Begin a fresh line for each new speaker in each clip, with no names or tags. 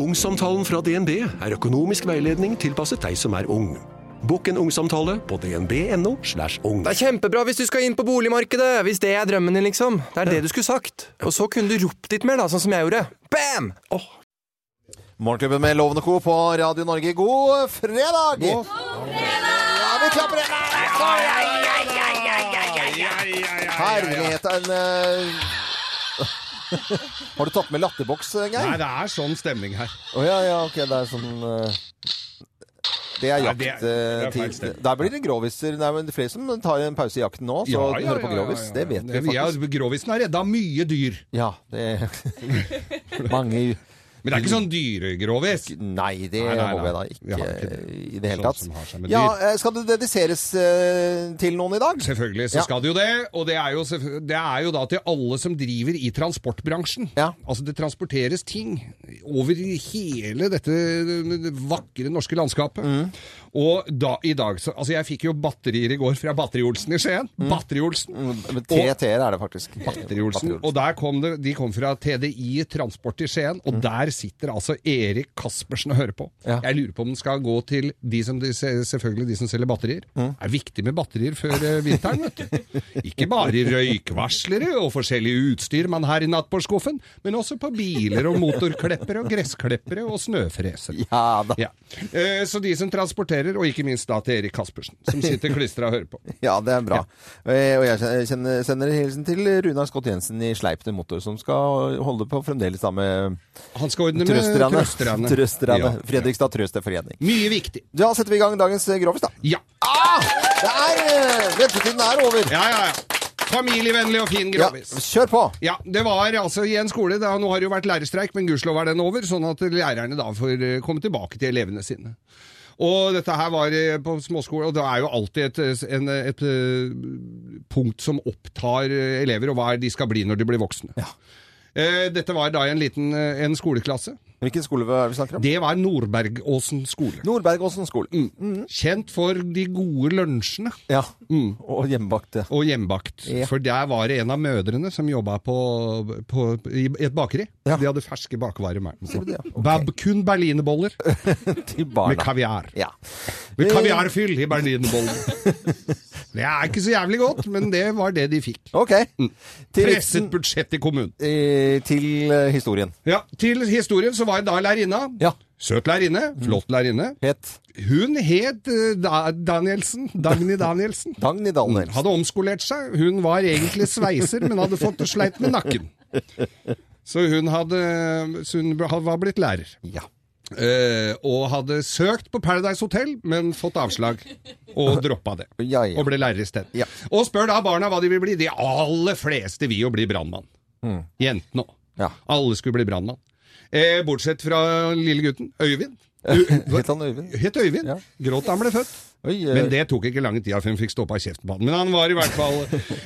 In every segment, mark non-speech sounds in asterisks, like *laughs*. Ungsamtalen fra DNB er økonomisk veiledning tilpasset deg som er ung. Bokk en ungsamtale på dnb.no. slash ung.
Det er kjempebra hvis du skal inn på boligmarkedet! Hvis det er drømmen din, liksom. Det er det du skulle sagt. Og så kunne du ropt litt mer, da, sånn som jeg gjorde. Bam!
Morgenklubben med Lovende Co. på Radio Norge. God fredag! God fredag! Ja, vi klapper igjen! Herlighet, en eh, Har du tatt med latterboks,
Nei,
Geir?
det er sånn stemning her.
Å ja, ja, ok, det er sånn eh, Det er
Nei, det er- det er feil
jakttid.
sted.
Der blir det groviser. Det er vel flere som tar en pause i jakten nå, så
Ja, ja,
hører på
ja, ja,
grovis.
ja,
Det
ja.
vet vi
Ja,
faktisk.
Grovisen har redda mye dyr.
Ja, det *laughs* Mange
Men det er ikke sånn dyregrovis.
Nei, det
Nei, nei,
må
nei.
vi da
Vi
ikke,
har ikke det.
i det hele
Sånn
tatt.
som har seg med
ja,
dyr.
eh, skal det dediseres eh, til noen i dag?
Selvfølgelig så
Ja.
skal det jo det, og det er jo, selvfø- det er jo da til alle som driver i transportbransjen.
Ja.
Altså det transporteres ting over hele dette vakre norske landskapet.
Mm.
Og da, i dag, så, altså jeg fikk jo batterier i går fra Batteri-Olsen i Skien.
Mm.
Batteri-Olsen.
Men
Og-
Tre T-er er det faktisk.
Batteri-Olsen.
Batteri-Olsen.
Og der kom det, de kom fra TDI Transport i Skien, og der sitter altså Erik Kaspersen og hører på.
Mm. Ja.
Jeg lurer på om den skal gå til de som, de, se- selvfølgelig de som selger batterier.
Mm.
Det er viktig med batterier før eh, vinteren, vet du. Ikke bare røykvarslere og forskjellig utstyr man har i nattbordskuffen, men også på biler og motorkleppere og gresskleppere og snøfresere.
Ja da.
Ja. Eh, Så de som transporterer, og ikke minst da til Erik Kaspersen, som sitter klistra og hører på.
Ja, det er bra. Eh, Og jeg kjenner, sender en hilsen til Runar Scott Jensen i Sleipner Motor, som skal holde på fremdeles da med
Han skal ordne med
trøsterne. *laughs*
trøsterne.
Trøsterne.
Ja.
Fredrikstad Trøsterforening.
Mye viktig.
Da setter vi i gang dagens eh, grovis, da.
Ja.
Ah! Det er eh, Ventetiden er over.
Ja, ja, ja. Familievennlig og fin
Ja,
grovis. Ja.
kjør på.
Det var altså i en skole da, Nå har det jo vært lærerstreik, men gudskjelov er den over, sånn at lærerne da får eh, komme tilbake til elevene sine. Og dette her var eh, på småskole, og det er jo alltid et, eh, en, eh, et eh, punkt som opptar eh, elever, og hva er de skal bli når de blir voksne. Eh, Dette var da i en liten eh, en skoleklasse.
Hvilken skole er det vi snakker om?
Det Mm. var Nordbergåsen skole.
Nordbergåsen skole. Mm.
Kjent for de gode lunsjene.
Ja. Mm. Og hjemmebakte.
Og hjemmebakt.
Ja.
For der var det en av mødrene som jobba på, på, i i et bakeri.
Ja.
De hadde ferske bakvarer. med.
du det, ja? Ok. Ah,
Babkun berlinerboller
Til
med
barna.
kaviar.
Ja.
Med
Eh.
kaviarfyll i berlinerbollen.
*laughs*
det er ikke så jævlig godt, men det var det de fikk.
Ok. Til,
Mm. Presset budsjett i kommunen.
eh, til eh, historien.
Ja, Til historien så var jeg da lærerinna.
Ja.
Søt lærerinne, flott lærerinne.
Het
Hun het eh, da Danielsen. Dagny Danielsen.
Dagny Dahlnes.
Hadde omskolert seg. Hun var egentlig sveiser, men hadde fått sleit med nakken. Så hun, hadde, så hun var blitt lærer.
Ja.
Eh, og hadde søkt på Paradise Hotel, men fått avslag. Og droppa det.
*laughs* Ja, ja.
Og ble lærer isteden.
Ja.
Og spør da barna hva de vil bli. De aller fleste vil jo bli brannmann.
Mm.
Jentene òg.
Ja.
Alle skulle bli brannmann. Eh, bortsett fra lille gutten
*laughs*
Øyvind. U-
Het han Øyvind?
Het Øyvind.
Ja.
Gråt da han ble født.
Oi, eh,
Men det tok ikke lange tida før hun fikk stoppa kjeften på han. Men han var i
*laughs*
hvert fall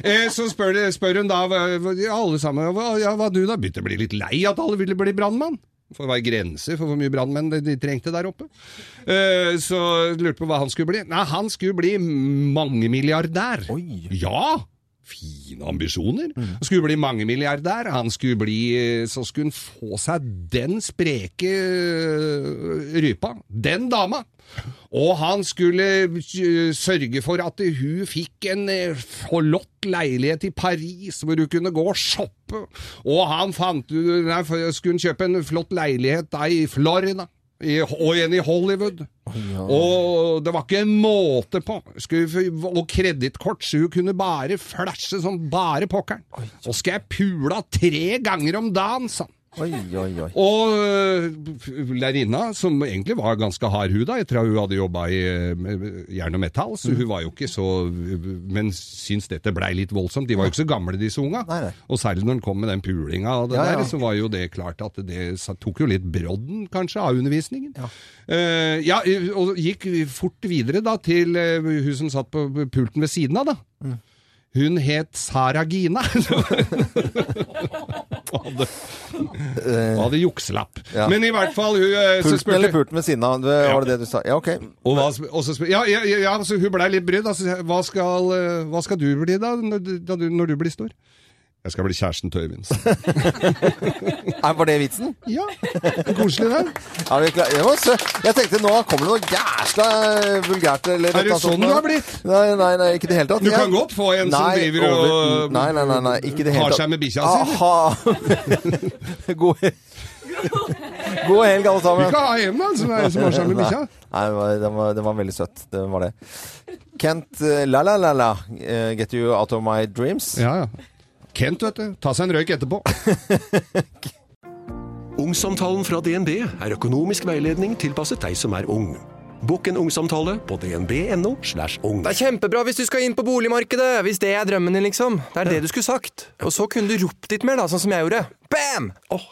eh, Så spør, spør hun da hva- hva- ja, alle sammen hva, ja, hva du da? Begynte å bli litt lei at alle ville bli brannmann. For det var grenser for hvor mye brannmenn de, de trengte der oppe. Eh, så lurte på hva han skulle bli. Nei, han skulle bli mangemilliardær.
Oi.
Ja! Fine ambisjoner. Han skulle bli mangemilliardær. Han skulle bli eh, Så skulle han få seg den spreke øh, rypa. Den dama. Og han skulle øh, sørge for at hun fikk en øh, flott leilighet i Paris hvor hun kunne gå og shoppe. Og han fant ut Nei, for- skulle han kjøpe en flott leilighet da i Florida. I, og en i Hollywood. Og det var ikke en måte på. Skulle, vi få- og kredittkort, så hun kunne bare flashe som bare pokkeren. Og skal jeg pule av tre ganger om dagen, sa han.
Oi, oi, oi.
Og øh, lærerinna, som egentlig var ganske hard huda etter at hun hadde jobba i øh, jern og metall, så hun var jo ikke så Men syns dette blei litt voldsomt. De var jo ikke så gamle, disse unga.
Nei, nei.
Og særlig når den kom med den pulinga og det
Ja, ja.
der, så var jo det klart at det sa- tok jo litt brodden, kanskje, av undervisningen. Ja, ja og gikk fort videre da til øh, hun som satt på pulten ved siden av, da. Hun het Sara *laughs* Gina. hadde, hadde jukselapp.
Eh. Ja.
Men i hvert fall hun, eh, så
Pulten eller
spurte,
pulten ved siden av, det var det det du sa? Ja, ok.
og hva, sp- og så spurte ja, ja, ja, ja, så hun blei litt brydd. Altså, hva, skal, eh, hva skal du bli da, når, du- da du, når du blir stor? Jeg skal bli kjæresten til Øyvind.
Er- Var det vitsen?
*laughs* Ja, koselig det.
Er vi klar? Jeg, var sø- jeg tenkte nå kommer det noe jæsla eh, vulgært. Eller,
Er det
noe
sånn
nå.
du har blitt?
Nei, nei, nei, ikke i det hele tatt.
Du
Jeg-
kan godt få en som
Nei,
driver og
over- Nei, nei, nei, nei ikke i det hele
har
tatt.
seg med bikkja si.
Aha. *laughs* God hel- God helg, alle
Vi
sammen.
kan ha en da, som, er, som har seg med bikkja.
Nei, det var, den var, den var veldig søtt. Det var det. Kent eh, La La La La, eh, Get You Out of My Dreams.
Ja, ja. Kent, vet du. Ta seg en røyk etterpå.
Ungsamtalen fra DNB er økonomisk veiledning tilpasset deg som er ung. Bokk en ungsamtale på dnb.no. slash ung.
Det er kjempebra hvis du skal inn på boligmarkedet, hvis det er drømmen din, liksom. Det er det du skulle sagt. Og så kunne du ropt litt mer, da, sånn som jeg gjorde. Bam! Åh,